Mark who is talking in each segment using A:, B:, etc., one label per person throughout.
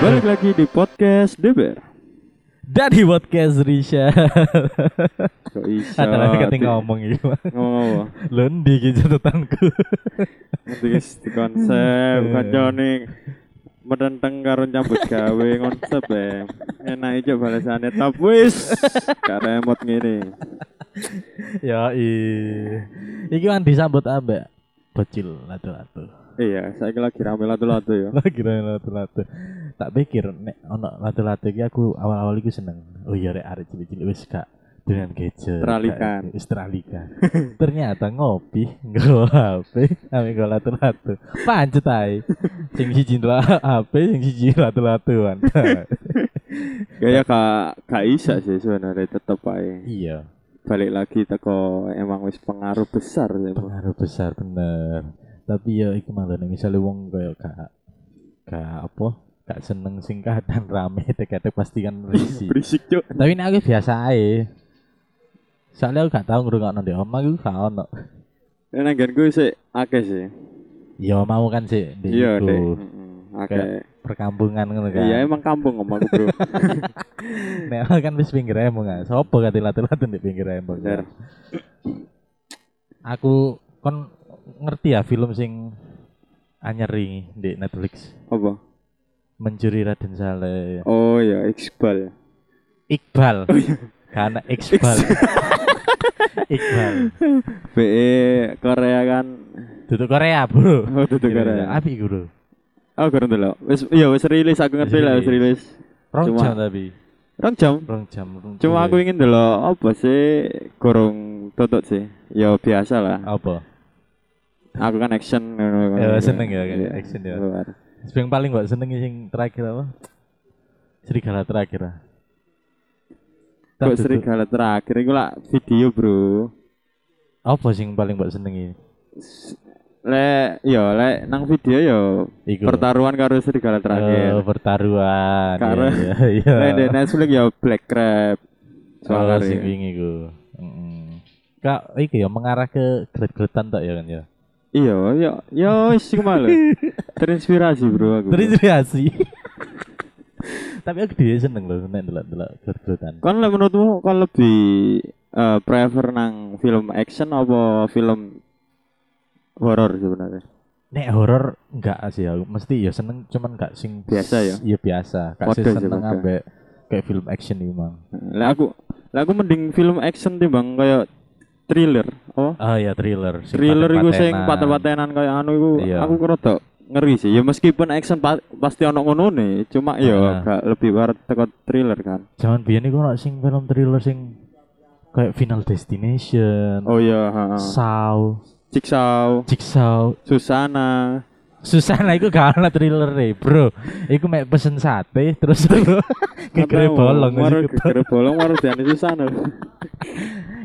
A: Balik lagi di podcast DBR.
B: Dari podcast Risha.
A: Kok bisa?
B: Atau lagi keting
A: di-
B: ngomong gitu.
A: Ngomong apa?
B: Lendi gitu tetanku.
A: Ngerti guys di konsep
B: Iya.
A: kacau nih. Merenteng karo nyambut gawe konsep ya. Enak aja balasannya top wis. Gak remote ngene.
B: ya i. Iki kan disambut ambek bocil latu-latu.
A: Iya, saya lagi rame latu-latu ya.
B: Lah kira latu-latu. Tak pikir nek ono latu-latu iki aku awal-awal iku seneng. Oh iya rek arek cilik-cilik wis gak dengan gadget.
A: Teralihkan.
B: Gak- Wis teralihkan. Ternyata ngopi nggo HP ame nggo latu-latu. Pancet ae. Sing siji ndelok HP, sing siji latu-latuan.
A: Kayak Ya, gak gak isa sih sebenarnya tetep aja.
B: iya.
A: Balik lagi teko emang wis pengaruh besar sih. Bang.
B: pengaruh besar bener tapi ya iku malah misalnya wong kayak kak kak apa kak seneng sing dan rame tek-tek pasti kan berisi
A: Berisik cuk.
B: tapi ini aku biasa ae soalnya aku gak tau ngrungokno di oma aku gak ono
A: Enak kan gue sih akeh sih.
B: ya mau kan sih di
A: Iya
B: iku,
A: deh. Mm-mm, Akeh.
B: perkampungan ngono kan
A: Iya emang kampung ngomong bro.
B: nek oma kan wis pinggir embong kan sopo kate latu-latu di pinggir embong
A: Bener.
B: kan? aku kon ngerti ya film sing anyar ini di Netflix
A: Apa?
B: mencuri Raden Saleh
A: Oh ya Iqbal.
B: Iqbal.
A: Oh, iya.
B: Karena Iqbal. Iqbal.
A: BE Korea kan.
B: Duduk Korea, Bro.
A: Oh tutup Korea.
B: Api, Bro.
A: Oh kurang dulu. Wis iya wis rilis aku ngerti lah wis rilis.
B: Rong
A: Cuma-
B: jam tapi.
A: Rong jam.
B: Rong jam. rong
A: Cuma
B: jam.
A: aku ingin dulu apa sih gorong tutup sih. Ya biasa lah.
B: apa?
A: Aku kan action. ngono,
B: Ya,
A: ngono.
B: seneng ya, kan,
A: Iya,
B: action ya.
A: luar.
B: Yang paling gak seneng sing terakhir apa? Serigala terakhir. ah. Tak
A: Kok
B: duduk.
A: serigala terakhir iku lah video bro.
B: Apa sing paling gak senengi?
A: S- Lek yo lek nang video yo
B: Iku.
A: pertaruhan karo serigala terakhir.
B: Eh, pertaruhan.
A: Karena-
B: Iya,
A: Nah,
B: iya.
A: di Netflix ya Black Crab.
B: Soalnya
A: Soalnya
B: sing wingi ku. Heeh. Kak, iki ya mengarah ke gret-gretan tak ya kan ya.
A: iya, iya, iya, wis iku malah. Terinspirasi bro aku.
B: terinspirasi tapi aku dia seneng loh nek delok delok gergetan
A: Kan le- menurutmu kan lebih eh, prefer nang film action apa film horor sebenarnya?
B: nek horor enggak sih aku mesti ya seneng cuman enggak sing
A: Biasa ya?
B: iya biasa gak sih
A: Wadah sih,
B: seneng
A: wadah.
B: ambek kayak film action iki mang
A: Lah aku, lah aku mending film action timbang kayak thriller. Oh,
B: ah ya thriller sing
A: thriller iku sing
B: paten-patenan.
A: paten-patenan kayak anu iku
B: Iya.
A: aku rada ngeri sih. Ya meskipun action pa- pasti ono ngono nih, cuma ya
B: Ah.
A: gak lebih barat teko thriller kan.
B: jaman biyen iku ono sing film thriller sing kayak Final Destination
A: Oh iya, ha, ha.
B: Saw
A: Jigsaw,
B: Jigsaw
A: Susana.
B: Susana iku gak ono thriller e, Bro. Iku mek pesen sate terus kegere
A: Nggak tahu,
B: bolong gitu.
A: Waru
B: wis iku.
A: gegere bolong waru diane Susana.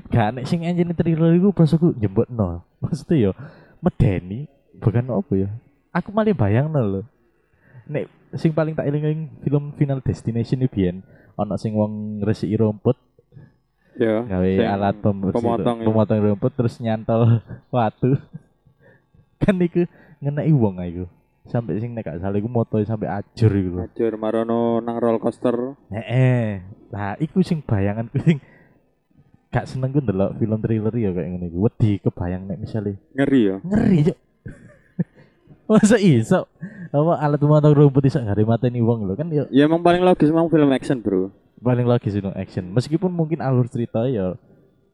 B: gak nek sing enjene thriller iku prosoku jembokno. Maksudnya yo medeni bukan apa ya. Aku malah bayangno lho. Nek sing paling tak eling-eling film Final Destination iki biyen ana sing wong ngresiki rumput
A: Ya.
B: gawe
A: sing
B: alat pembersih
A: pemotong
B: itu,
A: itu.
B: pemotong rumput terus nyantol watu. kan iku ngeneki wong ah iku. Sampai sing nek gak salah iku motoe sampai ajur iku lho.
A: Ajur marono nang roller coaster.
B: Heeh. Nah, iku sing bayanganku sing gak seneng ku ndelok film thriller ya kayak ngene iku. Wedi kebayang nek misalnya
A: Ngeri ya.
B: ngeri cuk. Masa iso apa alat pemotong rumput iso gak mateni wong lho kan ya
A: Ya emang paling logis emang film action, Bro.
B: paling lagi sih action. Meskipun mungkin alur cerita ya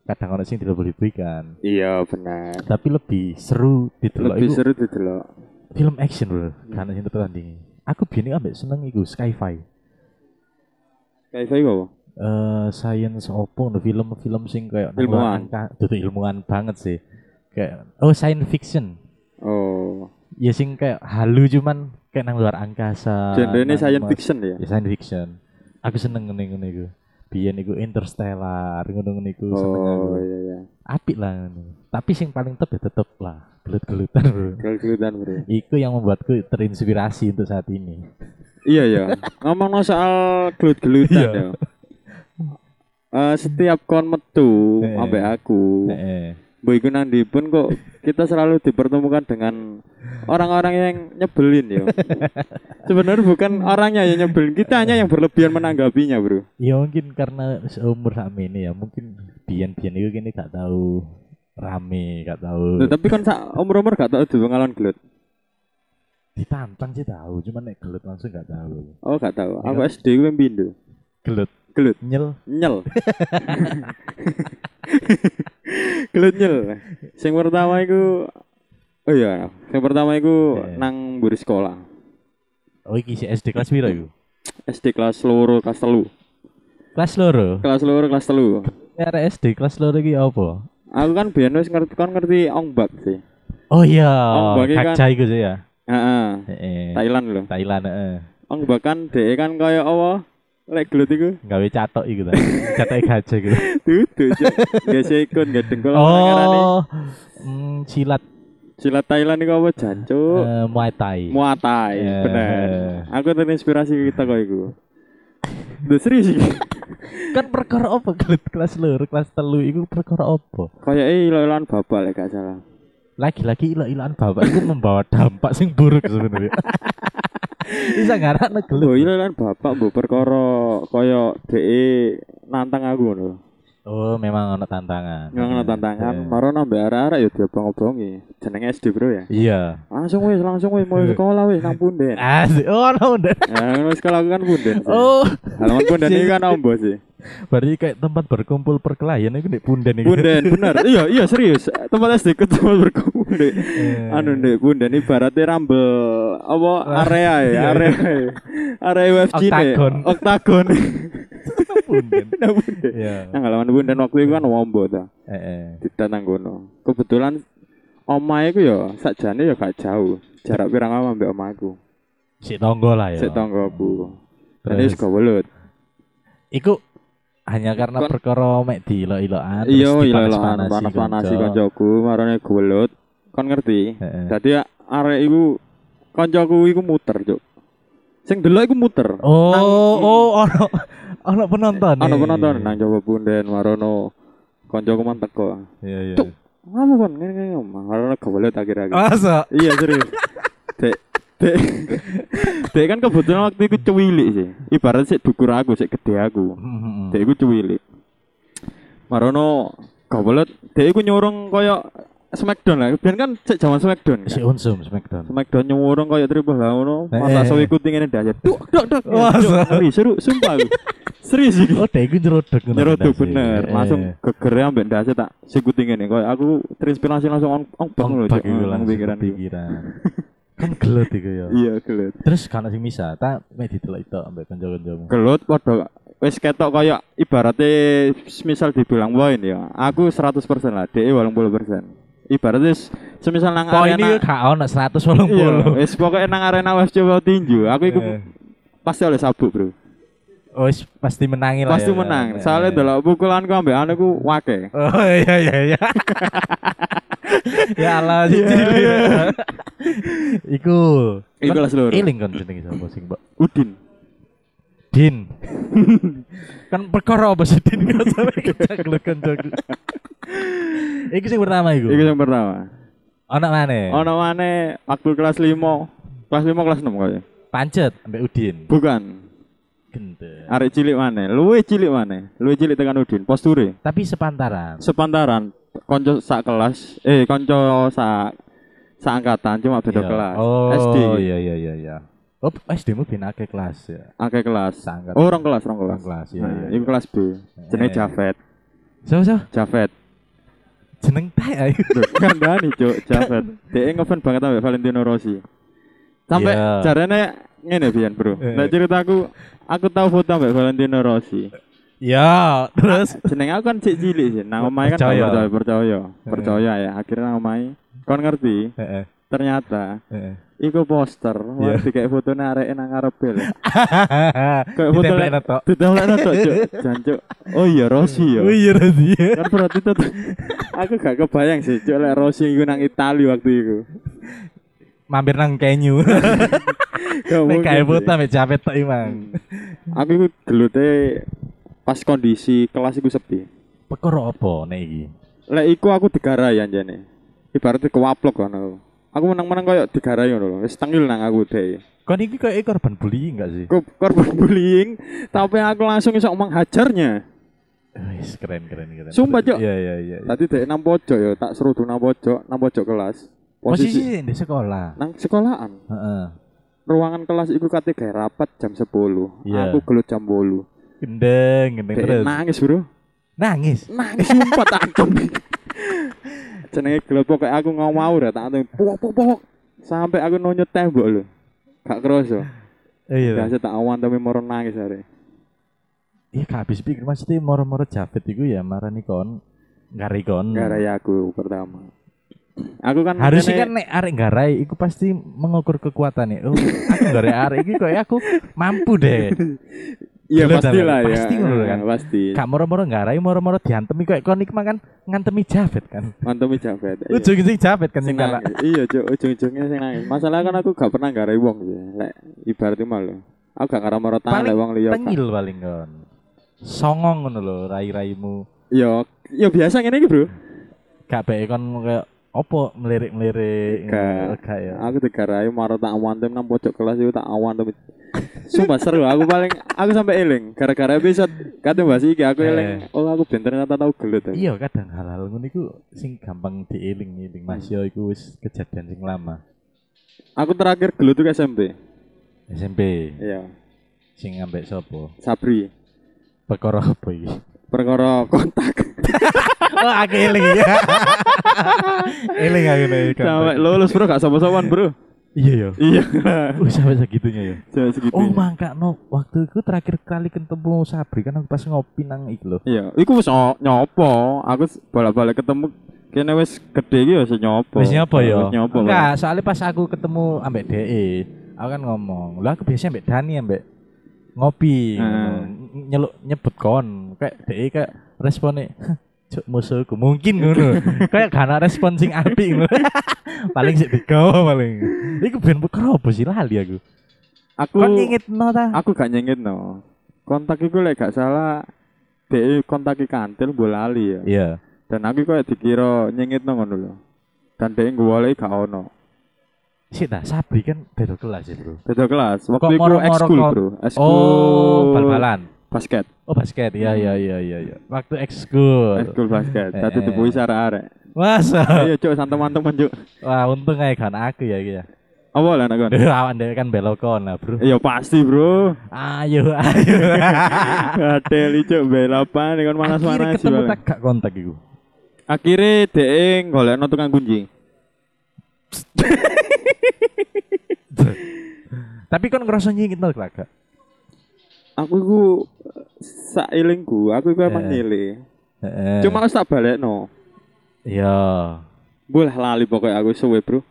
B: kadang ono sing dilebih-lebihkan,
A: Iya, benar.
B: tapi lebih seru didelok
A: Lebih
B: iku
A: seru Hmm. didelok.
B: film action lho, gak ono sing tertandingi. Aku biyen iku ambek seneng iku sci-fi.
A: Kayak saya apa?
B: eh science opo no film-film sing kayak nang
A: Ilmuwan.
B: luar angka- dudu ilmuwan banget sih kayak oh science fiction
A: Oh.
B: ya sing kayak halu cuman kayak nang luar angkasa
A: Genre ini
B: Ah, nang
A: science
B: mas-
A: fiction ya.
B: ya, science fiction aku seneng ngene ngene iku biyen iku interstellar ngono ngene iku seneng aku
A: Oh, iya iya.
B: apik lah ngono tapi sing paling tep ya tetep lah gelut-gelutan bro
A: Gelut-gelutan, Bro.
B: Iku yang membuatku terinspirasi untuk saat ini.
A: Iya ya. Ngomong soal gelut-gelutan
B: Iya.
A: ya. Eh setiap kon metu
B: Eh.
A: ambek aku.
B: Eh, eh.
A: Mbok iku nandi pun kok kita selalu dipertemukan dengan orang-orang yang nyebelin ya. Sebenarnya bukan orangnya yang nyebelin, kita hanya yang berlebihan menanggapinya, Bro.
B: Ya mungkin karena seumur sama ini ya mungkin bian-bian itu gini gak tahu rame gak tahu
A: Loh, tapi kan sak umur-umur gak tau pengalan gelut.
B: ditantang sih tahu cuman nek gelut langsung gak tahu
A: Oh, gak tau. Aku
B: Iya.
A: SD gue pindo.
B: gelut
A: Gelut
B: nyel
A: nyel. gelut nyel. Sing pertama iku Oh iya, yang pertama iku
B: Iya.
A: nang mburi sekolah.
B: oh iki si SD kelas piro iku
A: SD kelas loro kelas telu.
B: kelas loro
A: Kelas loro kelas telu.
B: arek SD kelas loro iki apa
A: Aku kan biyen wis ngerti kan ngerti ongbak sih.
B: oh iya
A: Oh, bagi kan-
B: kaca iku sih ya
A: Heeh.
B: Heeh.
A: Thailand lho.
B: Thailand heeh.
A: Ongbak kan dhek kan kaya apa? Lek gelut iku
B: gawe catok iku ta catok e gajah iku
A: duduk. Gak sekon, gak dengkul. apa ngarani?
B: oh mm, silat
A: Silat Thailand iku apa jancuk?
B: eh, muay thai
A: Muay Thai,
B: Eh.
A: bener. Aku terinspirasi kita kok iku. Duh serius iki.
B: kan perkara apa gelut kelas loro kelas telu iku perkara apa
A: Kayake ilo-iloan babal ya gak salah.
B: lagi-lagi ilah-ilahan bapak itu membawa dampak sing buruk sebenarnya bisa ngarak
A: Lho
B: negelu
A: Oh, ilo-iloan bapak mbok perkara kaya dhek e nantang aku ngono.
B: oh memang ono tantangan
A: Nang ana tantangan,
B: Eh,
A: maro nambah arek-arek ya diobong-obongi. Jenenge SD, Bro ya.
B: iya
A: Langsung wis, langsung wis mulai sekolah wis nang punden.
B: asik oh ono Nda.
A: Ya, ngono sekolah aku kan punden. sih.
B: oh
A: Halaman punden iki kan ombo sih.
B: berarti kayak tempat berkumpul perkelahian itu di punden itu
A: Punden bener. Iya, iya serius. Tempat SD ketemu berkumpul. Dek.
B: Eh.
A: Anu ndek punden ibaratnya rambel apa area ya,
B: iya,
A: area. ya. Area UFC ne.
B: Oktagon.
A: Oktagon.
B: punden
A: Nang punden.
B: iya
A: Nang halaman punden waktu itu kan ombo ta.
B: eh, eh.
A: Ditanang kono. Kebetulan omahe ku ya sakjane ya gak jauh. Jarak pirang ama mbek omaku.
B: si tonggo lah ya
A: Sik tanggoku. Terus
B: Terus?
A: gak welut.
B: iku hanya karena
A: Kon-
B: perkara mek di ilo-iloan terus
A: Iya, iya lah,
B: dipanas-panasi
A: panas-panasi
B: konco.
A: koncoku, marane gewelut. Kon ngerti?
B: Heeh.
A: Dadi arek iku koncoku iku muter, Cuk. Sing delok iku muter.
B: oh
A: Nang-
B: oh ono ono penonton
A: Ana
B: eh.
A: penonton nang Jawa Punden marono koncoku man teko.
B: iya iya
A: Cuk. Ngapa kon ngene-ngene marono gewelut akhir-akhir.
B: masa
A: Iya, serius. Dek Dek, dek kan kebetulan waktu itu cuwilik sih. Ibarat sik dukur aku, sik gede aku.
B: Hmm.
A: Dek iku cuwilik. Marono gobelet, dek iku nyurung kaya Smackdown lah. Biyen kan sik jaman Smackdown.
B: Si
A: Kan?
B: Unsum Smackdown.
A: Smackdown nyurung kaya triple H ngono,
B: Eh,
A: mata
B: eh,
A: sawi kuting ngene dah. Duk duk duk.
B: Wah,
A: Cuk, ngeri, seru sumpah. aku. Serius iki.
B: Oh, dia itu nyerodok ngono,
A: Nyerodok
B: Dasi.
A: bener,
B: Eh,
A: langsung gegere ambek ndase tak sikuti ngene kaya aku terinspirasi langsung ong ong bang lho
B: Bang
A: Cuk,
B: bagi gue
A: ong
B: langsung
A: pikiran.
B: ke pikiran. Kan gelut iku ya.
A: Iya, gelut.
B: Terus kan sing bisa, tak mek didelok itu ambek kanca-kancamu.
A: Gelut padha wis ketok kaya ibaratnya semisal dibilang poin ya. Aku 100% lah, dhek 80%. Ibaratnya s- semisal nang
B: Poin
A: arena
B: iki gak ono
A: Iya,
B: 180.
A: wis pokoknya nang arena UFC coba tinju, aku iku
B: Eh,
A: pasti oleh sabuk, Bro.
B: oh, Wis pasti menangi lah.
A: Pasti
B: ya.
A: menang.
B: Eh,
A: Soalnya
B: eh.
A: delok pukulanku ambek anu ku wake.
B: Oh iya iya iya. ya Allah
A: Iya, iya.
B: Iku.
A: Iku lah seluruh.
B: Iling kan jenenge sapa sing mbok
A: Udin.
B: Din. kan perkara apa sih Din kok sampe kecaklek kancaku. Iku sing pertama iku.
A: Iku yang pertama.
B: Ono maneh.
A: Ono maneh waktu kelas 5. Kelas 5 kelas 6 kaya.
B: Pancet ambek Udin.
A: Bukan.
B: Gendeng.
A: Arek cilik maneh, luwe cilik maneh. Luwe cilik tekan Udin, posture.
B: Tapi sepantaran.
A: Sepantaran konco sak kelas, eh konco sak sak angkatan cuma beda
B: Iya.
A: kelas.
B: Oh,
A: SD.
B: iya iya iya iya. Oh, SD mu binake kelas ya.
A: Akeh kelas.
B: Sangkat.
A: Oh, rong kelas, rong kelas.
B: Rong kelas, iya,
A: Nah,
B: iya,
A: iku
B: iya.
A: kelas B. Jenenge
B: Eh.
A: Javet.
B: So so
A: Javet.
B: jeneng tae ae.
A: Duh, Kandani cuk, Javed. Dia ngefan banget sampai Valentino Rossi. Sampai
B: Iya.
A: jarane ngene biyen, Bro.
B: Eh.
A: Nek ceritaku aku tahu foto sampai Valentino Rossi.
B: Ya, terus
A: Jeneng aku kan cek cilik sih. Nang omahe kan gak
B: Percaya. Eh.
A: percaya, percaya, percaya ya. Akhirnya nang omahe kon ngerti,
B: Heeh.
A: ternyata
B: heeh.
A: iku poster yeah.
B: Iya.
A: wis kayak fotone arek nang ngarep lho. Kayak foto
B: Ditempelin to.
A: Ditamlekno tok, Cuk. Jan, Cuk. Oh iya Rossi ya.
B: Oh iya Rosi.
A: Kan berarti tetep aku gak kebayang sih, Cuk, lek Rossi iku nang Itali waktu itu.
B: Mampir nang kenyu.
A: Gak
B: Nek
A: mungkin
B: kae
A: sih.
B: foto mek capek tok imang.
A: Hmm. Aku iku gelute pas kondisi kelas iku sepi.
B: Perkara apa nek iki?
A: lek iku aku digarai anjene. Ibaratnya kewaplok ngono. Aku menang-menang koyo digarai ngono lho. Wis tengil nang aku deh.
B: Kon iki kayak korban bullying gak sih?
A: Aku korban bullying, tapi aku langsung iso menghajarnya.
B: Wis keren keren keren.
A: Sumpah, Cok.
B: Iya iya iya.
A: Tadi dek nang pojok ya, tak serudu nang pojok, nang pojok kelas. Posisi
B: Posisi Nah. di sekolah.
A: nang sekolahan.
B: Heeh.
A: ruangan kelas iku kate gawe rapat jam 10.
B: Iya.
A: Aku gelut jam 8.
B: Gendeng gendeng
A: Dek
B: terus.
A: nangis, Bro.
B: Nangis.
A: Nangis sumpah tak adem. Jenenge gelut pokoknya aku ngomong mau dah tak adem. Pok pok pok. Sampai aku nonyot tembok lho. Gak kerasa.
B: Iya. Hmm.
A: Biasa tak awan tapi moro nangis are.
B: Iya gak habis pikir maksudnya moro-moro Javed iku ya marani kon ngarai kon.
A: Garai ya aku pertama. Aku kan ngene-
B: Harusnya kan nek arek garai iku pasti mengukur kekuatan ya. Oh, aku garai arek iki kayak aku mampu deh.
A: Iya
B: gelut,
A: pasti
B: Bang.
A: lah ya.
B: Pasti ngono kan.
A: Ya, Pasti.
B: Gak moro-moro garai moro-moro diantemi kayak kon iki makan ngantemi Javed kan.
A: Mantemi jabet. iya.
B: Ujung-ujung Javed kan
A: Sing
B: sing kalah.
A: nangis. Iya, Cuk, ujung-ujungnya sing nangis. Masalah kan aku gak pernah garai wong ya. Lek ibaratnya malu. Aku gak karo maro tangan
B: Paling
A: lek wong liya.
B: Tengil paling kon. Songong ngono lho rai-raimu.
A: Yo, yo biasa ngene iki, Bro.
B: Gak bae kon kayak opo melirik-melirik
A: Gak.
B: Gak ya.
A: Aku digarai maro tak awantem nang pojok kelas itu tak awantem. Sumpah seru aku paling aku sampai eling gara-gara episode kate bahas iki aku eling. Oh, aku ben ternyata tau gelut. ya.
B: Iya kadang hal-hal ngono iku sing gampang dieling-eling Mas yo iku wis kejadian sing lama.
A: Aku terakhir gelut tuh SMP.
B: SMP
A: Iya,
B: sing ngambek sopo?
A: Sabri.
B: Perkara apa iki?
A: Perkara kontak
B: Oh aku eling ya. eling aku nek. gampang.
A: sampai lulus, Bro, gak sapa-sapaan, Bro.
B: Iya yo.
A: Iya.
B: Wih sampai segitunya ya.
A: Jangan segitu.
B: Oh mangka no waktu itu terakhir kali ketemu Sabri kan aku pas ngopi nang iku lho.
A: Iya, iku wis nyo- nyopo. Aku s- bolak-balik ketemu kene wis gede iki wis nyopo.
B: Wis nyapa ya?
A: Wis nyopo. Bang.
B: Enggak, soalnya pas aku ketemu ambek DE, aku kan ngomong, "Lah aku biasanya ambek Dani ambek ngopi."
A: Hmm.
B: ngono. N- Nyeluk nyebut kon, kayak DE kayak responnya "Hah, Cuk musuhku mungkin ngono. Kayak gak ana respon sing apik ngono. paling sik digawa paling. Iku ben perkara apa sih lali aku.
A: Aku
B: Kon ngingetno ta?
A: aku gak nyengitno. Kontak iku lek gak salah dhek kontak kantil mbok lali ya.
B: Iya.
A: Dan aku koyo dikira nyengitno ngono lho. Dan dhek golek gak ono.
B: Sik ta, Sabri kan beda kelas ya, Bro.
A: Beda kelas. Waktu
B: Kok
A: iku
B: moro-moro
A: ekskul,
B: kok-
A: Bro. Ekskul
B: Oh, bal-balan.
A: basket.
B: Oh, basket. Iya, iya, iya, iya, iya. Waktu ekskul.
A: Ekskul basket.
B: Eh,
A: Dadi
B: eh.
A: dibuhi arek-arek.
B: Masa?
A: Ayo cuk santeman-teman cuk.
B: Wah, untung ae kan aku ya iki ya.
A: Apa lah anak kon?
B: Duh, awan dhewe kan belokon lah, Bro.
A: Iya pasti, Bro.
B: Ayo, ayo.
A: Gadeli cuk belapan kon
B: Akhirnya
A: manas-manas
B: ketemu
A: paling.
B: tak gak kontak iku.
A: Akhirnya dhek golekno tukang kunci.
B: Tapi kon ngerasa nyingitno gak gak?
A: Aku iku eh, sailingku, aku iku emang
B: Eh.
A: nyilih.
B: Heeh.
A: Cuma wis tak balekno.
B: iya.
A: Boleh lali pokoknya aku suwe, Bro.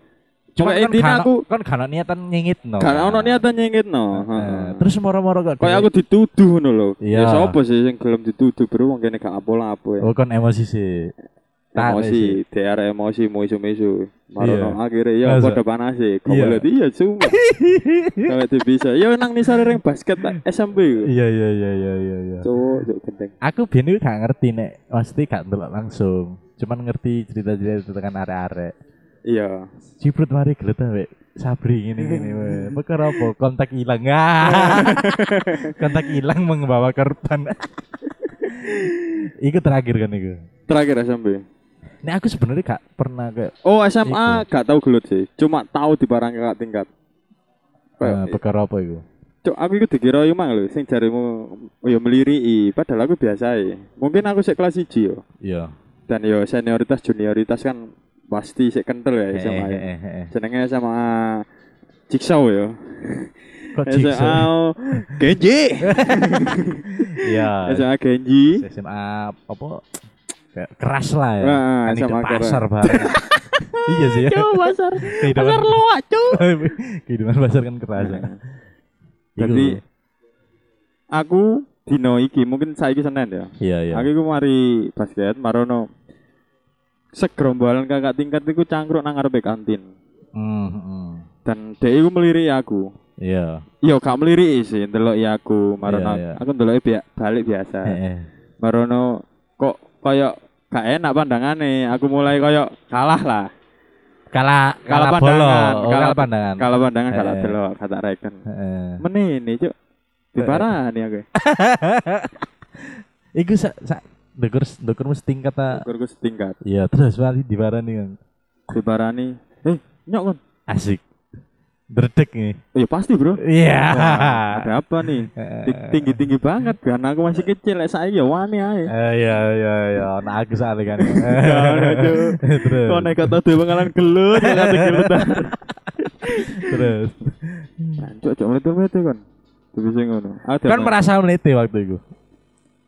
A: Cuma
B: kan
A: intinya
B: gak-
A: aku
B: kon gak ada niatan nyingitno.
A: gak ono niatan nyengitno.
B: Heeh. Oh. Eh, Terus moro-moro kok.
A: Kayak aku dituduh ngono lho.
B: Iya.
A: Ya sapa sih sing gelem dituduh, Bro? Wong kene gak apa-apa ya.
B: Oh, kon emosi sih. tak
A: emosi, DR emosi musuh-musuh. Marono
B: Iya.
A: akhirnya ya
B: Masa?
A: padha panas sih.
B: Iya.
A: Kok iya cuma. Sampai bisa. Ya nang nisare ring basket tak SMP.
B: Iya, iya, iya, iya, iya, iya.
A: Cuk, cuk gendeng.
B: Aku biyen iku gak ngerti nek pasti gak ndelok langsung. Cuman ngerti cerita-cerita tentang arek-arek.
A: Iya.
B: Ciprut mari gelut ambek Sabri ngene ngene wae. Perkara apa? Kontak hilang. Ah. Kontak hilang membawa korban. iku terakhir kan iku.
A: Terakhir SMP.
B: Nek aku sebenarnya gak pernah kayak
A: Oh SMA gak tahu gelut sih, cuma tahu di barang kakak tingkat.
B: eh,
A: Kayak,
B: perkara apa iku.
A: Cuk, aku itu dikira yo mang lho, sing jarimu yo melirii, padahal aku biasa ae. Mungkin aku sik kelas 1 yo.
B: Iya.
A: Dan yo senioritas junioritas kan pasti sik kental ya SMA.
B: Eh,
A: ya.
B: eh, eh, eh.
A: Jenenge SMA Ciksaw yo. SMA
B: Kok Oh, jigsaw?
A: Genji.
B: Iya.
A: SMA Genji.
B: SMA apa? Kayak keras lah ya.
A: Nah,
B: Kan hidup
A: SMA keras.
B: pasar bareng. iya sih ya.
A: pasar.
B: Kehidupan
A: loak, Cuk.
B: kehidupan pasar kan keras. ya.
A: Jadi-
B: Iku.
A: Aku dino iki mungkin saiki Senin ya.
B: iya iya.
A: Aku iku mari basket marono segerombolan kakak tingkat iku cangkruk nang ngarepe kantin.
B: Hmm, hmm.
A: Dan dhek iku melirik aku.
B: Iya.
A: Yo gak melirik sih ndeloki aku marono.
B: Iya, iya.
A: Eh. Aku ndeloki bi- balik biasa.
B: Eh, eh.
A: Marono kok kayak gak enak pandangane. Aku mulai koyo kalah lah.
B: Kala
A: Kala
B: kala bolo,
A: pandangan, kala-
B: oh, kala pandangan.
A: Kalau pandangan kalah
B: Eh.
A: delok kata Reken.
B: Heeh.
A: Menini, Cuk. Diparani aku.
B: Iya, Iku sak sak ndukur ndukur mesti tingkat ta.
A: Syukurku setingkat.
B: Ya terus mari diwarani kan.
A: Diparani. Eh, nyok kon.
B: Asik. Dredeg nih.
A: Ya pasti, Bro.
B: Iya.
A: Wah, ada apa nih? Ti- Tinggi-tinggi banget karena aku masih kecil, lek saya ya wani ae.
B: Eh iya iya iya, nah aku salah kan.
A: Jangan, Cuk.
B: Terus.
A: Kok nek kata dhewe pengalan gelut, ya kata gelut.
B: Terus.
A: Cuk, cuk mletu-mletu kon. Tapi sing ngono. Ada
B: Kan
A: apa?
B: merasa meniti waktu itu.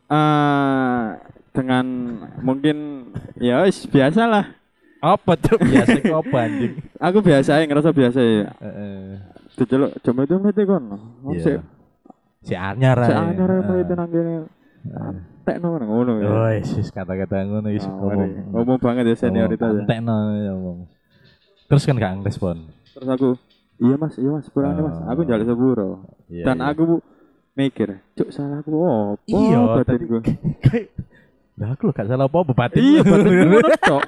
A: Eh, dengan mungkin ya wis biasalah.
B: Apa tuh biasa kok Iya, apa anjing?
A: Aku biasa ae, ngerasa biasa ya.
B: Heeh.
A: Diceluk jam itu mletu kon. Sik
B: Iya. ya. Si Anyar. Ah.
A: sik
B: ae.
A: anyar
B: Heeh.
A: apa ya? itu nang kene. Tekno ngono ya.
B: Ah. Oh, wis wis, kata-kata ngono wis
A: Ah,
B: ngomong.
A: mari. Ngomong banget ya senioritas. ya.
B: Tekno ngomong. Terus kan gak ngrespon.
A: Terus aku, iya mas, iya mas, purane mas.
B: Oh.
A: Aku jalan sepuro.
B: Iya,
A: Dan
B: iya.
A: aku bu, mikir, cuk salahku opo
B: Iya, tadi-
A: batinku.
B: Kayak- Lah aku lho gak salah apa batin.
A: Iya, batinku ngono cok.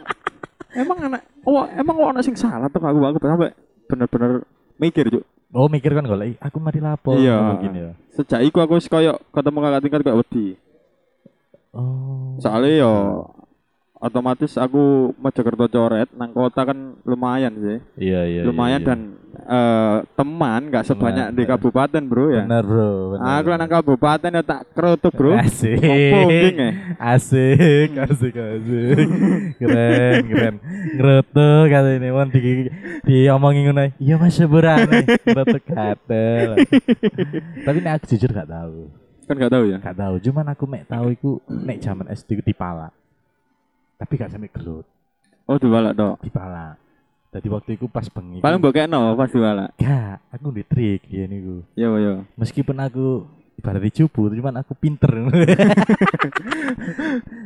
A: Emang anak, oh emang ono sing salah tuh aku aku sampai bener-bener mikir cuk.
B: Oh, mikir kan golek aku mari lapo
A: Iya.
B: ngono gini ya.
A: Sejak iku aku wis koyo ketemu kakak tingkat gak wedi.
B: Oh.
A: Soalnya yo otomatis aku Mojokerto coret nang kota kan lumayan sih.
B: Iya, iya.
A: lumayan
B: iya, iya.
A: dan eh, teman gak sebanyak
B: Teman.
A: di kabupaten, Bro ya.
B: bener, Bro. Bener.
A: Aku nang kabupaten ya tak kerutuk, Bro.
B: Asik.
A: Poging ya.
B: Asik, asik, asik. keren, keren. Ngeretuk kata ini, mon di diomongin ngono. Iya Mas seberane. Ngeretuk kata. Tapi nek aku jujur gak tahu.
A: Kan gak tahu ya.
B: Gak tahu, cuman aku mek tahu iku nek jaman SD ku dipala. Tapi gak sampe gelut,
A: Oh, diwalak dok.
B: dipala. Jadi waktu itu pas bengi.
A: Paling mbok kekno pas diwalak.
B: gak, aku di trik dia niku.
A: Iya, iya.
B: Meskipun aku ibarat dicubu, cuman aku pinter.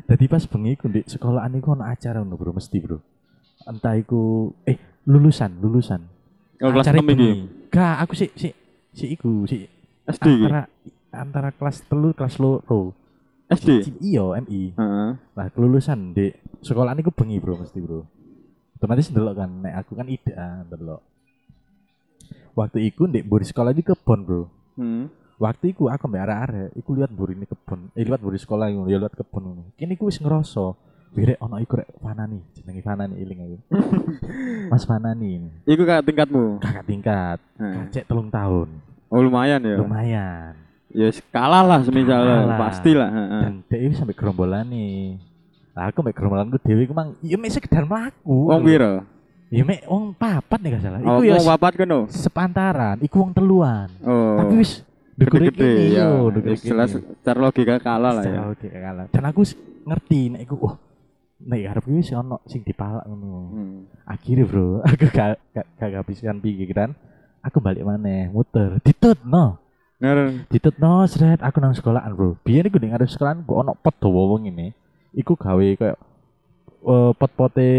B: Jadi pas bengi ku di sekolahan iku ono acara ngono, Bro, mesti, Bro. Entah iku eh lulusan, lulusan.
A: Oh, kelas
B: Acara
A: 6 iki.
B: Gak, aku sih sih sih iku sih
A: SD iki.
B: antara antara kelas telu kelas loro. iya,
A: SD.
B: Iyo, MI.
A: Heeh.
B: Nah, kelulusan di sekolah niku bengi, Bro, mesti, Bro. Otomatis ndelok kan nek aku kan ida ndelok. Waktu iku ndek mburi sekolah di kebon, Bro.
A: Hmm.
B: Waktu iku aku mbek arek-arek, iku lihat mburi ini kebon. Eh, lihat mburi sekolah iku, ya lihat kebon ngono. Kene iku wis ngeroso Wirek ono iku rek Fanani, jenenge Fanani iling aku. Mas Fanani,
A: Iku kakak tingkatmu.
B: kakak tingkat,
A: Heeh.
B: kacek telung tahun.
A: Oh, lumayan Hmm. ya.
B: Lumayan.
A: Ya yes, kalah lah semisal
B: Kalah lah.
A: pastilah, heeh.
B: Dan dhewe sampe gerombolan nih. Lah aku mbek gerombolanku dhewe iku mang ya mek sekedar mlaku.
A: Wong Oh, piro?
B: Ya mek wong papat nek gak salah. Iku
A: Oh,
B: ya
A: wong
B: se-
A: papat kono.
B: sepantaran, iku wong teluan.
A: Oh.
B: Tapi wis dukure
A: gede-gede
B: kene
A: ya.
B: yo, dukure
A: Wis Jelas secara logika kalah lah ya.
B: Secara logika kalah. Dan aku wis ngerti nek iku oh nek arep iki wis ono sing dipalak ngono.
A: Hmm.
B: Akhirnya bro, aku gak gak gak kehabisan pikiran. Aku balik maneh, muter, ditutno.
A: Ngeren.
B: Ditutno sret aku nang sekolahan, bro. Biyen iku ning arep sekolahan ku ono pot dawa wong ini. Iku gawe kayak eh pot-pote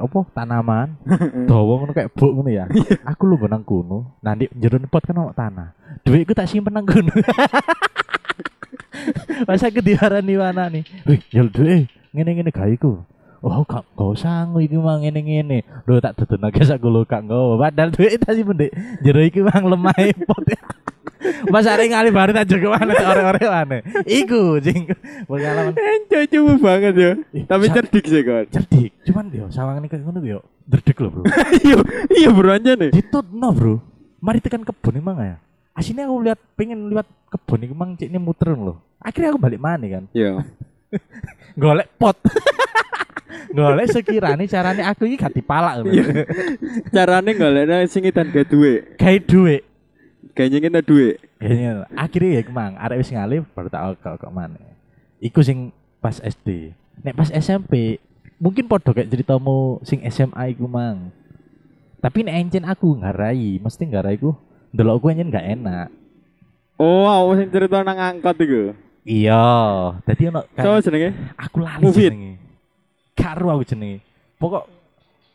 B: apa tanaman dawa ngono kayak buk ngono ya. Aku lu nang kono, nanti jero pot kan ono tanah. Duitku tak simpen nang kono. Masa aku diarani mana nih? Wih, nyel duit, ngene-ngene gawe iku. Oh, gak gak usah ngono iki mang ngene-ngene. Lho tak dudunake sak kulo gak nggowo. Padahal duit tak simpen ndek jero iki mang lemah pot. Mas arek ngalih bareng tak jago mana ore-ore mana. Iku jing pengalaman
A: Enjoy cuma banget ya.
B: Ih,
A: Tapi
B: sa-
A: cerdik sih kon.
B: cerdik. Cuman yo sawangane kayak ngono yo. Derdek lho, Bro.
A: Iya, iya bro aja nih.
B: ditutno bro mari tekan kebun emang ya aslinya aku lihat pengen lihat kebun ini emang ciknya muter loh akhirnya aku balik mana kan
A: Iya.
B: golek pot golek sekiranya caranya aku ini gak dipalak loh
A: Carane golekne sing edan gawe duwe.
B: kayak duit
A: Gawe nyengene duwe.
B: kayaknya akhirnya ya kemang arek wis ngalih baru tak kok kok mana iku sing pas SD nek pas SMP mungkin podo kayak ceritamu sing SMA iku mang tapi nek encen aku ngarai mesti ngarai ku ndelok aku encen gak enak
A: Oh, aku sing cerita nang angkot iku.
B: Iya, dadi ono
A: Sopo jenenge?
B: aku lali
A: Mufid.
B: jenenge. Karo aku jenenge. Pokok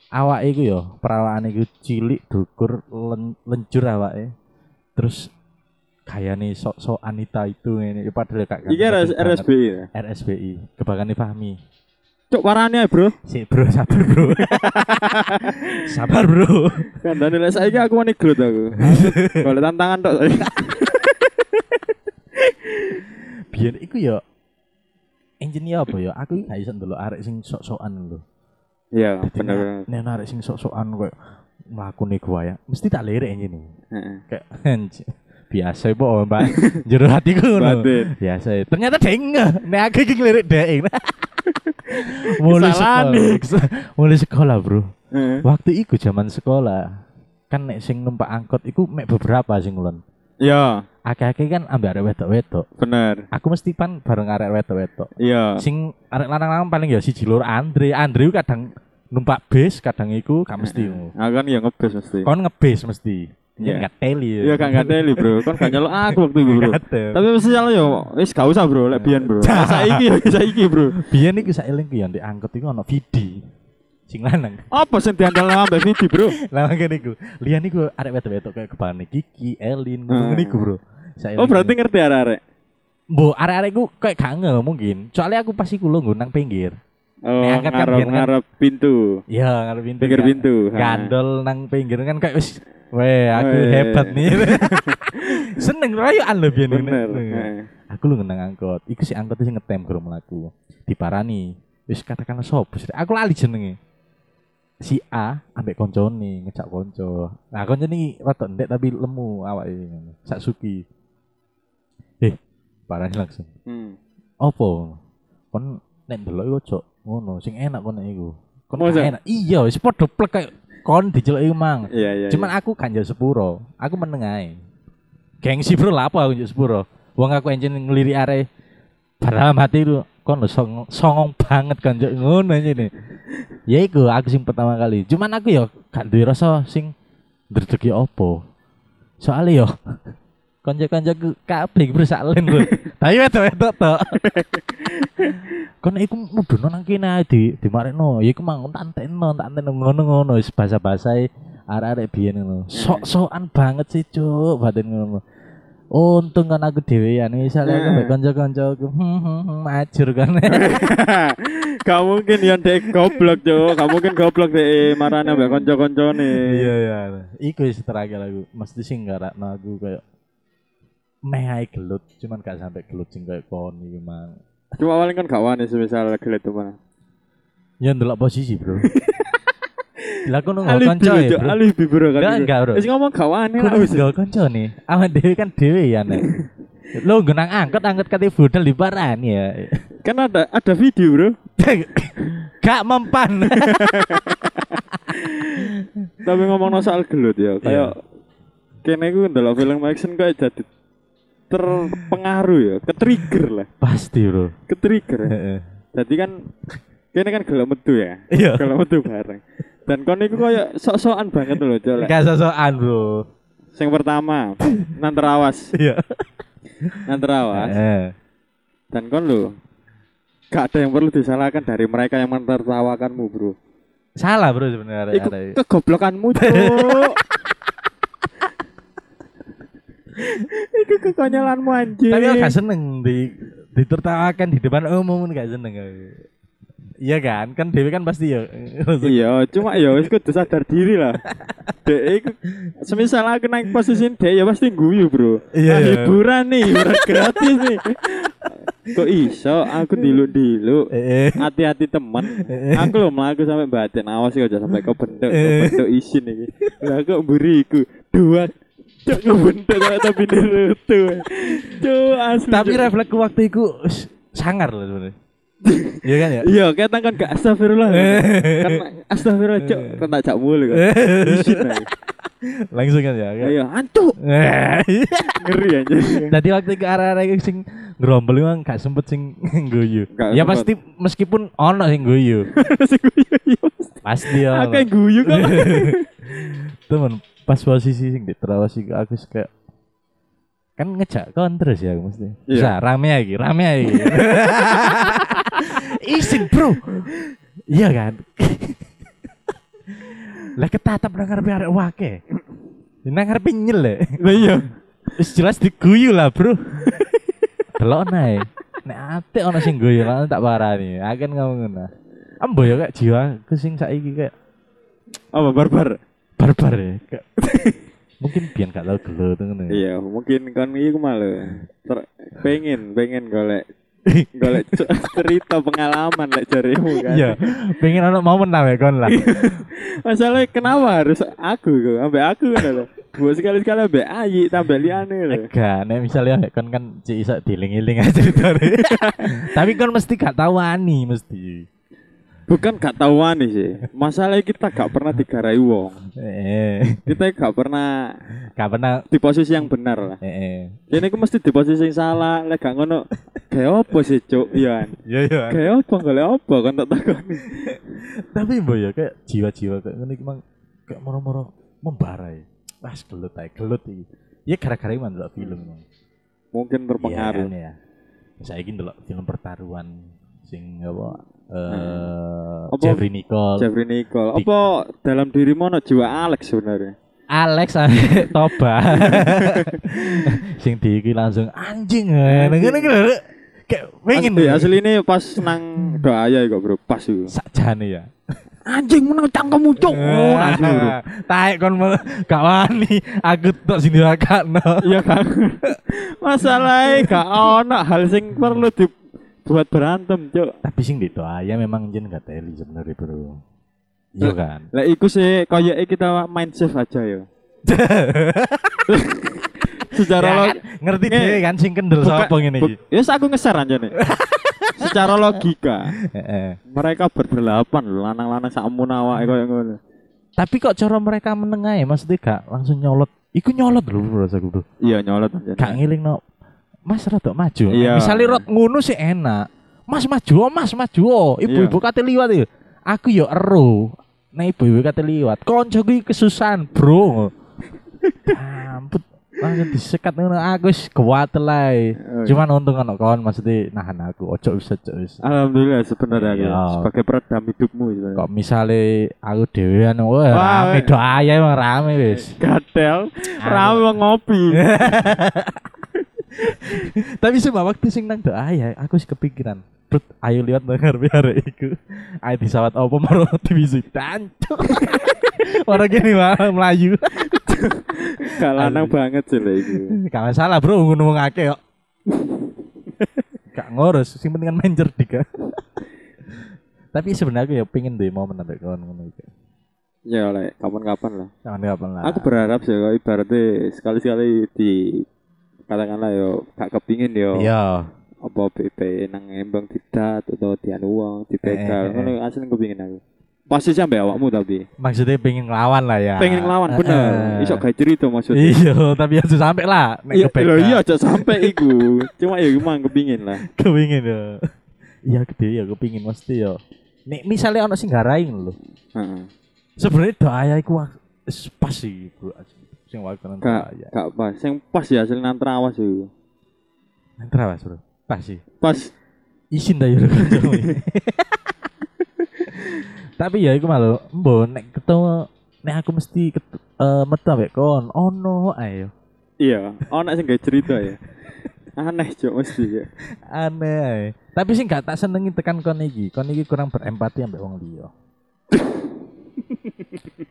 B: awake iku ya, perawakane iku cilik dukur len, lencur awake. Terus kayane sok-sok Anita itu ngene ya padahal gak
A: Iki RS, RSBI. ya?
B: RSBI, kebakane Fahmi.
A: Cuk warane ae, Bro.
B: Si bro sabar bro. sabar bro.
A: Kandane Kan, lek saiki aku wani growth aku. Golek tantangan tok. saiki.
B: Biar iku ya engineer apa ya? Aku gak iso ndelok arek sing sok-sokan lho.
A: Iya,
B: Dadi
A: bener.
B: nek- Nek arek sing sok-sokan koyo mlakune gua ya, mesti tak lirik engineer.
A: Heeh.
B: kayak anjir. biasa ya, po mbak jero hatiku ngono.
A: Batin.
B: biasa ya. ternyata deng nek aku iki ngelirik deng mulai
A: Kesalahan
B: sekolah mulai sekolah bro
A: Heeh.
B: waktu iku zaman sekolah kan nek sing numpak angkot iku mek beberapa sing ulun
A: Iya,
B: akeh-akeh kan ambek arek wedok-wedok
A: bener.
B: aku mesti pan bareng arek wedok-wedok
A: Iya.
B: sing arek lanang-lanang paling ya siji loro Andre Andre ku kadang numpak bis kadang iku gak mesti
A: Aku kan ya ngebes mesti.
B: kon ngebis mesti
A: Iya.
B: Oh, Iya, teli.
A: Iya gak ngateli, Bro. Kon gak nyelok aku waktu itu, Bro.
B: Gatel.
A: Tapi mesti nyelok yo. Wis gak usah, Bro. Lek biyen, Bro.
B: Cah.
A: Saiki yo saiki, Bro.
B: Biyen iku saeling ku ya ndek angkot iku ana Vidi. Sing lanang.
A: Apa sing diandalno ambek Vidi, Bro?
B: Lah ngene iku. Liyan iku arek wedok-wedok kayak kebane Kiki, Elin, ngene iku, Bro.
A: Hmm.
B: Saeling
A: Oh,
B: ku.
A: berarti ngerti arek-arek.
B: Mbok arek-arek iku kayak gak nge mungkin. Soalnya aku pasti kulo nggo nang pinggir.
A: Oh,
B: Nek angkat kan biar kan-
A: ngarep-ngarep pintu.
B: Ya, ngarep pintu.
A: Pinggir
B: kan.
A: pintu. ha.
B: Gandol nang pinggir kan kayak wis Weh, aku
A: Weh.
B: hebat nih. Seneng rayuan lho biyen ngene.
A: Bener.
B: Iya.
A: Heeh.
B: Aku lu ngenang angkot. Iku si angkot sing ngetem karo mlaku. Diparani. Wis katakanlah sopo sih? Aku lali jenenge. Si A ambek koncone ngejak konco. Nah, koncone iki rada ndek tapi lemu awake ngono. Saksuki. Eh, parani langsung.
A: Hmm.
B: Opo? Kon nek ndelok iku ojo ngono. Sing enak kon nek iku. Kon gak
A: Masa?
B: enak. Iya, wis padha plek kayak kon diceluk iku mang.
A: Iya, iya.
B: Cuman aku kan jauh sepuro, aku menengahi. Gengsi bro lah apa aku jauh sepuro. Wong aku enjen ngeliri are padahal mati itu kon lo song- songong banget kan jauh ngono aja nih. Ya iku aku sing pertama kali. Cuman aku yo gak duwe rasa sing ya ndredegi opo. Soale yo kanca-kancaku kabeh bro sak len bro. Tapi wedok-wedok tok. Kon iku mudhun nang kene ae di dimarekno. Ya iku mang tak entekno, tak entekno ngono-ngono wis basa-basae arek-arek biyen ngono. Sok-sokan banget sih, Cuk, batin ngono. Untung kan aku dhewean misalnya aku
A: Heeh.
B: mbek kanca-kancaku hmm, hmm, hmm, ajur kan.
A: Gak mungkin yang dek goblok cok, gak mungkin goblok dek marane mbak konco konco nih.
B: Iya iya. Iku wis terakhir aku. Mesti sing ngarakno aku kayak meh ae gelut, cuman gak sampai gelut sing kayak kon iki mang.
A: Cuma paling kan gak wani semisal lagi lihat mana.
B: Ya ndelok posisi, Bro. Lah kono nggak
A: Alibi
B: kanca ya,
A: cok,
B: Bro.
A: alibi bro kan.
B: Enggak,
A: itu.
B: enggak, Bro.
A: Wis ngomong gak wani lah
B: Kono
A: wis.
B: nggak kanca nih. Aman dhewe kan dhewe ya nek. Lo genang angkot angkot kate budal di paran ya.
A: Kan ada ada video bro.
B: Gak mempan.
A: Tapi ngomong soal gelut ya,
B: Iya.
A: kayak kene gue ndelok film action kayak jadi terpengaruh ya, ketrigger lah,
B: Pasti, Bro.
A: ketrigger. ya.
B: Heeh.
A: Jadi kan kene kan gelem metu ya.
B: Iya.
A: Gelem metu bareng. Dan kon iku koyo sok-sokan banget loh, Cok. Lek
B: Gak sosokan, Bro.
A: Yang pertama, Nanterawas,
B: Iya.
A: Nanterawas.
B: Heeh.
A: Dan kon lo, gak ada yang perlu disalahkan dari mereka yang menertawakanmu, bro.
B: Salah, Bro sebenarnya.
A: Iku
B: arek-arek.
A: kegoblokanmu, cuk. Iku kekonyolanmu anjing.
B: Tapi aku gak seneng di ditertawakan di depan umum gak seneng aku. Iya kan? Kan Dewi kan pasti ya.
A: Iya, cuma ya wis kudu sadar diri lah. Dek iku semisal aku naik posisi dek ya pasti guyu, Bro.
B: Iya,
A: Ah,
B: iya.
A: hiburan nih, hiburan gratis nih. Kok iso aku
B: Iya.
A: diluk-diluk.
B: Eh, eh.
A: hati-hati temen aku lo melaku sampai batin awas ya aja sampai kau bentuk kau
B: Eh.
A: bentuk isin ini lah kok beriku dua cok kau bentuk kayak tapi dirutu cok asli
B: Tapi
A: Cuk.
B: refleksku waktu itu wis, sangar loh sebenarnya. Iya kan ya?
A: iya kayak tangan gak astagfirullah
B: Eh.
A: kan astagfirullah cok kan tak cak mulu kan isin aja
B: Langsung kan ya. kan?
A: ayo antuk
B: Eh.
A: ngeri aja
B: Tadi waktu ke arah-arah iku sing gerombol iku gak sempet sing guyu.
A: Gak
B: Ya
A: sempet.
B: pasti meskipun ono sing guyu.
A: Sing guyu, iya.
B: Pasti ono.
A: aku yang guyu kok
B: Eh. Temen pas posisi sing diterawasi aku wis kayak kan ngejak kon terus ya aku mesti.
A: Iya.
B: Bisa rame lagi, rame lagi. Isin, Bro. Iya kan? Lah ketatap nang ngarepe arek wake. Nang ngarepe nyel lek.
A: Lah iya
B: Wis jelas diguyu lah, Bro. Delok nae. Nek ate ana sing guyu lan tak parani. Akan kan ngomong ngono. Ambo ya kayak jiwa aku sing saiki kayak
A: Apa barbar?
B: barbar ya. Kayak, mungkin biar gak tau gelo tuh kan. ya.
A: Iya, mungkin kan iku malu. Ter- pengen, pengen golek golek c- cerita pengalaman lek jarimu kan.
B: Iya, pengen anak mau menang ya kon lah.
A: Masalahnya kenapa harus aku kok? Ambek aku kan lho. Buat sekali-sekali ambek Ayi tambah liane lho.
B: Gak, nek misalnya nek kon kan cik isak diling-iling aja ceritane. Tapi kon mesti gak tahu ani mesti.
A: Bukan gak tahuan sih. Masalahnya kita gak pernah digarai wong.
B: Eh,
A: Kita gak pernah
B: gak pernah
A: di posisi yang benar lah.
B: eh, eh.
A: Ini aku mesti di posisi yang salah. Lek gak ngono, kayak apa sih cuk? Iya.
B: Iya iya.
A: Kayak apa golek apa kan tak takoni.
B: Tapi mbok ya kayak jiwa-jiwa kayak ngene iki mang kayak moro-moro membara ya. Wah, gelut ae, gelut iki. Ya gara-gara iki mandelok film mang.
A: Mungkin terpengaruh.
B: Iya, aneh ya. Saya ingin delok film pertaruhan sing apa eh
A: Apa?
B: Jeffrey Nicole,
A: Jeffrey Nicole. Apa dalam dirimu ono jiwa Alex sebenarnya?
B: Alex ambek Toba. sing diiki langsung anjing ngene ngene ngene. Kayak pengen
A: Asli, asli ini pas nang doa ya kok bro, pas itu.
B: sakjane ya. Eh,
A: Anjing menang cangkemmu cuk. Oh, langsung, bro.
B: Taek kon malah gak wani, aku tok sing dirakakno.
A: Iya kan. Masalahnya gak ono hal sing perlu dibuat berantem cuk.
B: Tapi sing di ya memang jen gak teli sebenarnya bro. Iya kan.
A: Lah iku sih koyoke kita main safe aja ya. Secara
B: Ya
A: lo
B: kan, ngerti
A: Nge-
B: dhewe kan sing kendel
A: Eh, buka-
B: sapa ngene
A: bu-
B: iki.
A: Yes aku ngeser aja nih. Secara logika,
B: Heeh.
A: mereka berdelapan lho, lanang-lanang sak munawa koyo ngono.
B: Tapi kok cara mereka menengah ya maksudnya gak langsung nyolot. Iku nyolot lho bro rasaku bro.
A: Iya nyolot aja.
B: Gak ngiling no. Mas rada maju.
A: Iya.
B: Misalnya rot ngono sih enak. Mas maju, oh, mas maju. oh. Ibu-ibu kate liwat ya. Aku yo ero. Nah ibu-ibu kate liwat. Konco iki kesusahan, Bro. Ampun. Langsung disekat ngono aku wis kuwat lah.
A: Oh,
B: Cuman untung anak kawan maksudnya nahan aku. Ojo wis ojo wis.
A: Alhamdulillah sebenarnya aku, ya.
B: Iya.
A: sebagai peredam hidupmu sebenarnya.
B: Kok misalnya aku dewean wah
A: Wah,
B: rame
A: weh.
B: doa ya emang rame wis.
A: Gatel, rame wong ngopi.
B: Tapi semua waktu sing nang doa ya aku sih kepikiran. Brut, ayo lihat dengar biar iku. Ayo disawat opo maro divisi tancuk. Orang gini mah Melayu.
A: Gak lanang banget sih lah itu.
B: Gak masalah, Bro, ngono wong akeh kok. Gak ngurus, sing penting kan main cerdik. ya. Tapi sebenarnya aku ya pengen deh mau menambah kawan ngono iki.
A: Ya oleh kapan-kapan lah.
B: Jangan kapan lah.
A: Aku berharap sih kalau ibaratnya sekali-sekali di katakanlah yo gak kepingin yo
B: Iya.
A: apa BP nang embang didat atau dianu uang
B: Eh, eh,
A: dibegal
B: eh.
A: ngono asli kepingin aku pasti sampai awakmu tapi
B: Maksudnya pengen ngelawan lah ya.
A: pengen ngelawan bener
B: Heeh.
A: iso gak cerita maksudnya
B: Iya, tapi harus sampai lah. Eh. Nek
A: iya
B: kebeka.
A: lho, iya aja sampai iku cuma ya emang kepingin lah
B: kepingin ya iya gede ya kepingin mesti ya nek misalnya ono sing garaing lho
A: Heeh.
B: sebenarnya doa iku wak- wis pas sih bro sing wakanan
A: gak
B: doa ya
A: gak pas yang pas ya hasil nang terawas itu
B: Nang terawas bro pas sih
A: pas
B: isin dah ya bro. tapi ya iku malu mbo nek ketemu nek aku mesti ket- eh, metu ambek kon ono ayo
A: iya ono sing gak cerita ya aneh cok mesti ya
B: aneh ae. tapi sing gak tak senengi tekan kon iki kon iki kurang berempati ambek wong liya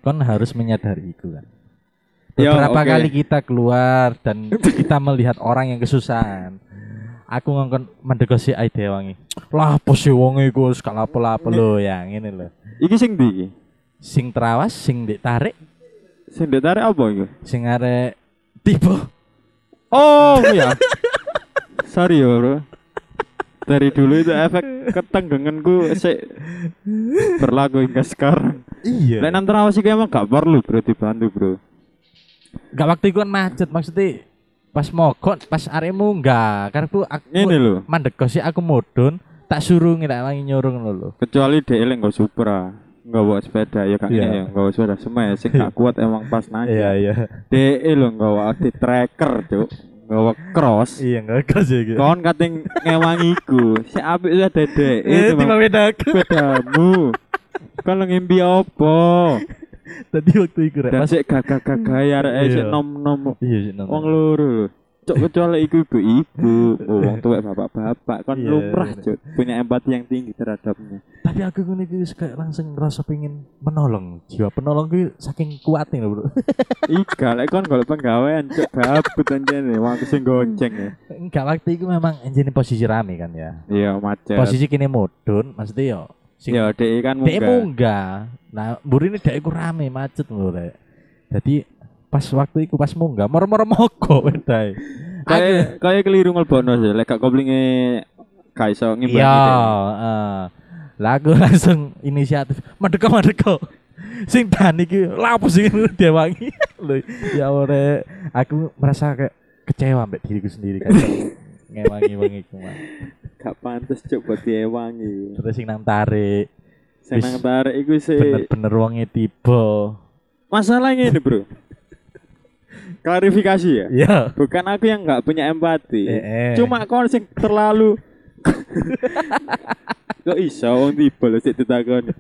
B: kon harus menyadari itu kan
A: Yo,
B: beberapa
A: oke.
B: kali kita keluar dan kita melihat orang yang kesusahan aku ngongkon mendegosi ide wangi lah apa sih wong iku wis gak lapo-lapo lho ya ngene lho
A: iki sing ndi iki
B: sing terawas sing ditarik
A: sing ditarik apa iku
B: sing arek tiba
A: Oh iya. Sorry ya bro. Dari dulu itu efek ketenggenganku sik berlaku hingga sekarang. Lek
B: iya
A: nang terawas iki emang gak perlu bro dibantu bro.
B: gak waktu iku kan macet maksudnya pas mogok pas aremu enggak karena aku aku
A: Ini lho.
B: mandek sih aku mudun tak suruh ngira wangi nyuruh ngono lho
A: Kecuali dhek elek nggo Supra, nggo bawa sepeda ya kan
B: Iya.
A: ya nggo sepeda semai sing gak kuat emang pas nanya.
B: iya
A: Dhek lho nggo di tracker cuk, nggo cross.
B: iya enggak keras ya gitu
A: Kon kating ngewangi iku. Si apik ya dedek
B: eh
A: itu
B: tiba beda aku
A: sepedamu. Kon lo ngimpi apa?
B: tadi waktu itu rek
A: Dan
B: pas
A: sik gagah-gagah arek
B: Iya.
A: sik nom-nom
B: iya sih
A: wong
B: nonton
A: loro lho. Cok kecuali iku ibu-ibu, wong tuwek bapak-bapak kan
B: Iya,
A: lumrah
B: iya.
A: cok, punya empati yang tinggi terhadapnya.
B: tapi aku ngene iki wis kayak langsung ngerasa pengen menolong jiwa penolong kuwi saking kuatnya lho bro
A: Iga lek kon golek penggawean cok gabut anjene, wong aku sing gonceng ya.
B: enggak waktu itu memang anjene posisi rame kan ya
A: Iya, macet.
B: posisi kini mudun maksudnya yo sing
A: Ya dhek kan
B: Dek
A: munggah.
B: munggah. Nah, mburi ini dek iku rame macet lho, Rek. Jadi pas waktu iku pas munggah, moro-moro mogok wedae. Aku-
A: Kayak kayak keliru ngelbono sih, lek gak koplinge gak iso ya. ngimbangi.
B: Iya,
A: dhek.
B: heeh. Lah aku eh, langsung inisiatif, medeko medeko. Sing dan iki lapo sing diwangi. Lho, ya ore aku merasa kayak kecewa mbek diriku sendiri kan. Ngewangi-wangi iku, Mas.
A: Gak pantes cok buat diewangi.
B: Terus sing nang tarik,
A: Sing
B: Wis.
A: nang tarik iku sih
B: bener-bener wonge tiba.
A: masalahnya ini, Bro. Klarifikasi ya.
B: Iya.
A: Bukan aku yang nggak punya empati.
B: Eh, eh.
A: Cuma kon sing terlalu Kok iso wong tiba lho sik ditakoni.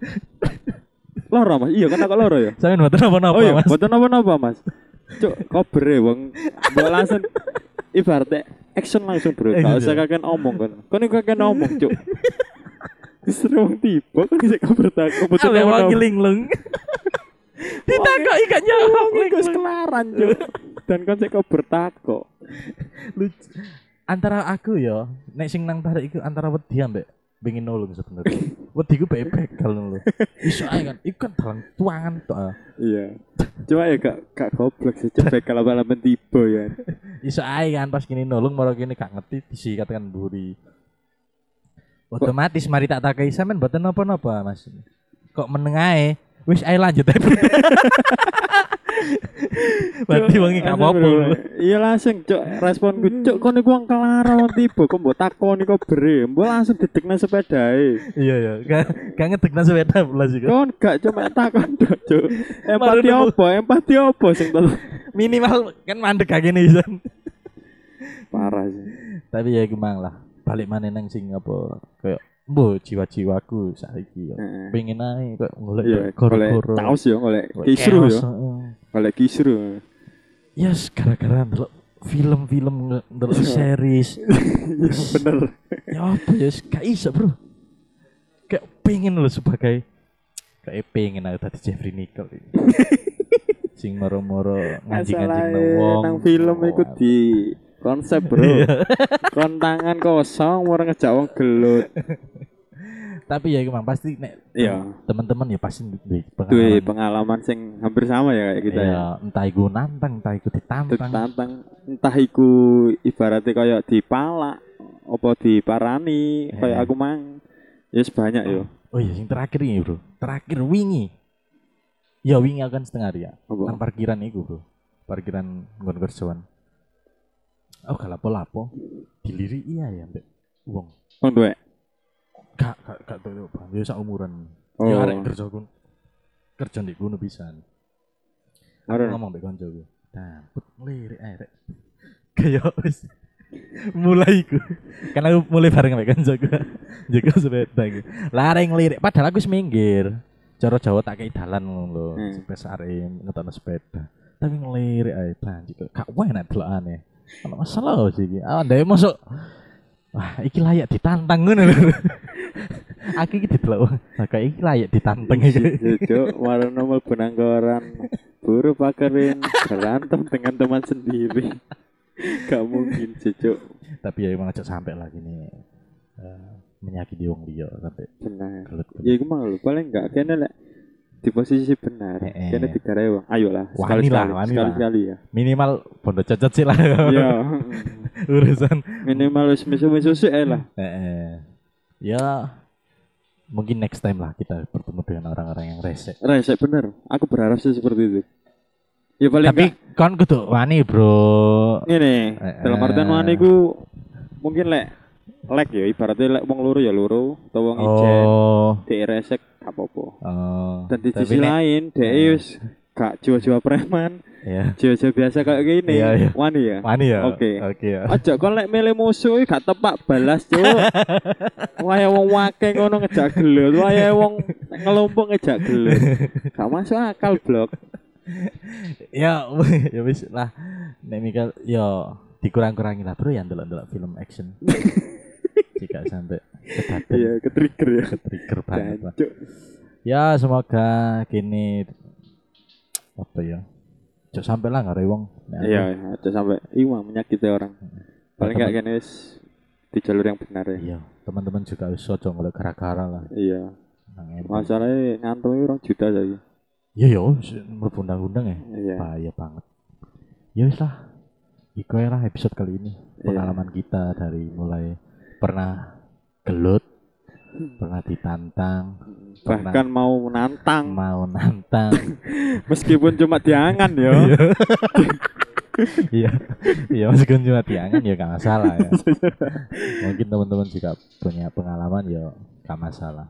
A: Loro Mas, iya kan aku loro ya.
B: Sampeyan mboten
A: Oh
B: apa-apa,
A: iya,
B: Mas.
A: mboten napa-napa Mas. Cuk, kobere wong mbok langsung ibaratnya action langsung bro.
B: Iya.
A: Gak usah kakek omong kon. Kon iku kakek omong, Cuk. Seru wong tiba kan sik kober tak kebetulan
B: Awe
A: ono-
B: wangi linglung. Ditakok ikan jawab
A: Wong iku wis kelaran, Cuk. Dan kon sik kober takok.
B: lucu. Antara aku ya, nek sing nang tarik iku antara wedi ambek pengen nolong sebenarnya. wedi ku bebek kalau lho. Iso ae kan ikan dalan tuangan tok. ah.
A: Iya. Cuma ya gak gak goblok sih cek kalau malam tiba ya.
B: Iso ae kan pas gini nolong moro gini gak ngerti disikat kan buri. Otomatis mari tak takai sampean mboten napa-napa Mas. Kok meneng ae. Wis ae lanjut ae. Berarti wangi gak apa-apa.
A: Iya langsung cok respon gue cok kon iku wong kelara wong tiba kok mbok takoni kok bere. Mbok langsung didekne e. sepedae.
B: Iya ya, gak gak ngedekna sepeda belas iku.
A: Kon gak cuma takon tok cok. Empati
B: Marunemu.
A: opo? Empati opo sing telu?
B: minimal kan mandek kaki nih Izan.
A: Parah sih.
B: tapi ya gimana lah balik mana nang sing apa kayak bu jiwa-jiwaku saiki ya
A: Heeh.
B: pengen naik kayak
A: Iya,
B: ngolek
A: golek
B: koro-koro
A: taos ya, golek
B: Kayak
A: kisru
B: chaos,
A: ya,
B: heeh.
A: golek kisru.
B: yes gara-gara ndelok film-film nge- ndelok series
A: Iya bener.
B: ya apa ya yes, gak iso bro kayak pengen lo sebagai kayak pengen aku tadi Jeffrey Nicole ini. sing moro-moro nganjing-nganjing nang
A: Masalahe
B: wong
A: ya, e,
B: Iya.
A: nang film iku di konsep, Bro. Kon tangan kosong mau ngejak wong gelut.
B: tapi ya emang pasti nek
A: Iya.
B: teman-teman ya pasti duwe
A: Duwe
B: pengalaman
A: pengalaman sing hampir sama ya kayak kita
B: ya,
A: ya.
B: entah iku nantang entah iku ditantang
A: Ditantang entah iku ibaratnya kayak dipalak apa diparani
B: Eh.
A: kayak aku mang. Yes banyak yo.
B: oh iya yang terakhir ini bro terakhir wingi ya wingi akan setengah hari ya nang
A: Apa?
B: parkiran iku bro parkiran nggon kerjaan oh gak lapo-lapo diliri iya ya mbak uang
A: Wong duwe.
B: gak gak gak tau bang ya sak umuran
A: Oh.
B: ya arek kerja kun kerja di gunung pisan Aku
A: Arun.
B: ngomong mbek kanca gue nah put ngelirik ae rek kayak wis mulai ku karena aku mulai bareng mbek kanca gue jaga sepeda iki lareng ngelirik padahal aku wis minggir cara Jawa tak kei dalan ngono lho
A: Hmm.
B: sampai sare ngetono sepeda tapi ngelirik ae banjir gak enak delokane ana masalah sih iki ah ndek masuk Wah, iki layak ditantang ngono lho. aku iki didelok. wah, Kayak iki layak ditantang iki.
A: Cuk, warna nomor benanggoran. Buru pakerin berantem dengan teman sendiri. Gak mungkin, Cuk.
B: tapi ya emang aja sampai lagi nih menyakiti wong liya sampai
A: Benar.
B: gelut
A: Ya iku mang lho, paling gak kene lek di posisi benar.
B: Eh, eh.
A: Kene digarai wong. Ayolah,
B: Wani lah, wani lah.
A: sekali-sekali ya.
B: minimal bondo cacat sih lah
A: Iya.
B: urusan
A: Minimal wis misu-misu sih eh lah.
B: eh, eh. ya mungkin next time lah kita bertemu dengan orang-orang yang rese
A: Resek bener. Aku berharap sih seperti itu. Ya paling
B: tapi kon kudu wani bro
A: ini
B: Eh,
A: dalam artian
B: eh.
A: mana iku mungkin lek lek ya ibaratnya lek wong loro ya loro atau wong ijen
B: oh
A: dhek resek gak apa-apa.
B: oh
A: Dan di
B: Tapi
A: sisi
B: nek-
A: lain
B: Eh.
A: dhek wis gak jiwa-jiwa preman,
B: ya
A: jiwa-jiwa biasa kayak gini.
B: Iya, iya.
A: Wani ya.
B: wani ya
A: Oke.
B: oke ya
A: Aja kon lek milih musuh iki gak tepak balas, Cuk. Wayahe wong wake ngono ngejak gelut, wayahe wong ngelompok ngejak gelut. Gak masuk akal, Blok.
B: ya ya wis lah nek mikir ya dikurang-kurangi lah bro ya ndelok-ndelok film action. Jika sampai kedaten
A: Iya, ke trigger ya.
B: trigger banget lah.
A: Jancuk.
B: Ya semoga kini apa ya? Cok sampai lah nggak rewong. Nah,
A: Iya, aja sampai iwa menyakiti orang. Paling gak kan wis di jalur yang benar ya.
B: Iya, teman-teman juga wis ojo ngelok gara-gara lah.
A: Iya.
B: Nang ewe.
A: Masalahnya ngantuk orang juta saiki.
B: Iya ya, mlebu undang-undang ya.
A: Iya.
B: Bahaya banget. Ya wis lah. Iku ae lah episode kali ini.
A: Iya.
B: Pengalaman kita dari mulai pernah gelut, pernah ditantang,
A: Bahkan mau menantang
B: mau nantang.
A: meskipun cuma diangan ya.
B: Iya. Iya, meskipun cuma tiangan ya gak masalah ya. Mungkin teman-teman juga punya pengalaman ya gak masalah.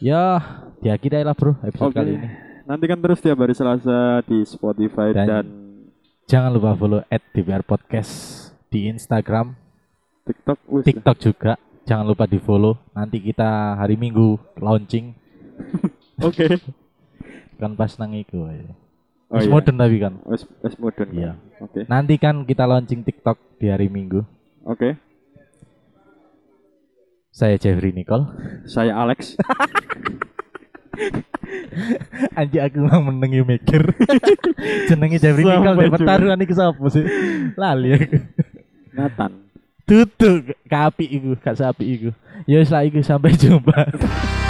B: Ya, diakhiri ae lah bro episode
A: Oke.
B: kali ini.
A: Nantikan kan terus tiap hari Selasa di Spotify
B: Dan-
A: dan,
B: Jangan lupa follow @dbr podcast di Instagram.
A: TikTok. Wis,
B: TikTok juga jangan lupa di follow nanti kita hari Minggu launching
A: Oke.
B: kan pas nang iku ya.
A: Oh
B: Wis
A: iya.
B: modern tapi kan
A: Wis wis modern.
B: Iya.
A: Oke.
B: nanti kan kita launching TikTok di hari Minggu
A: Oke.
B: saya Jeffrey Nicole
A: Saya Alex.
B: anjir aku mau menengi mikir jenenge Jeffrey
A: Sampai
B: Nicole deh
A: jumpa.
B: pertaruhan iki sapa sih lali aku
A: Nathan.
B: tutup kapi iku gak sapi iku ya wis lah iku sampai jumpa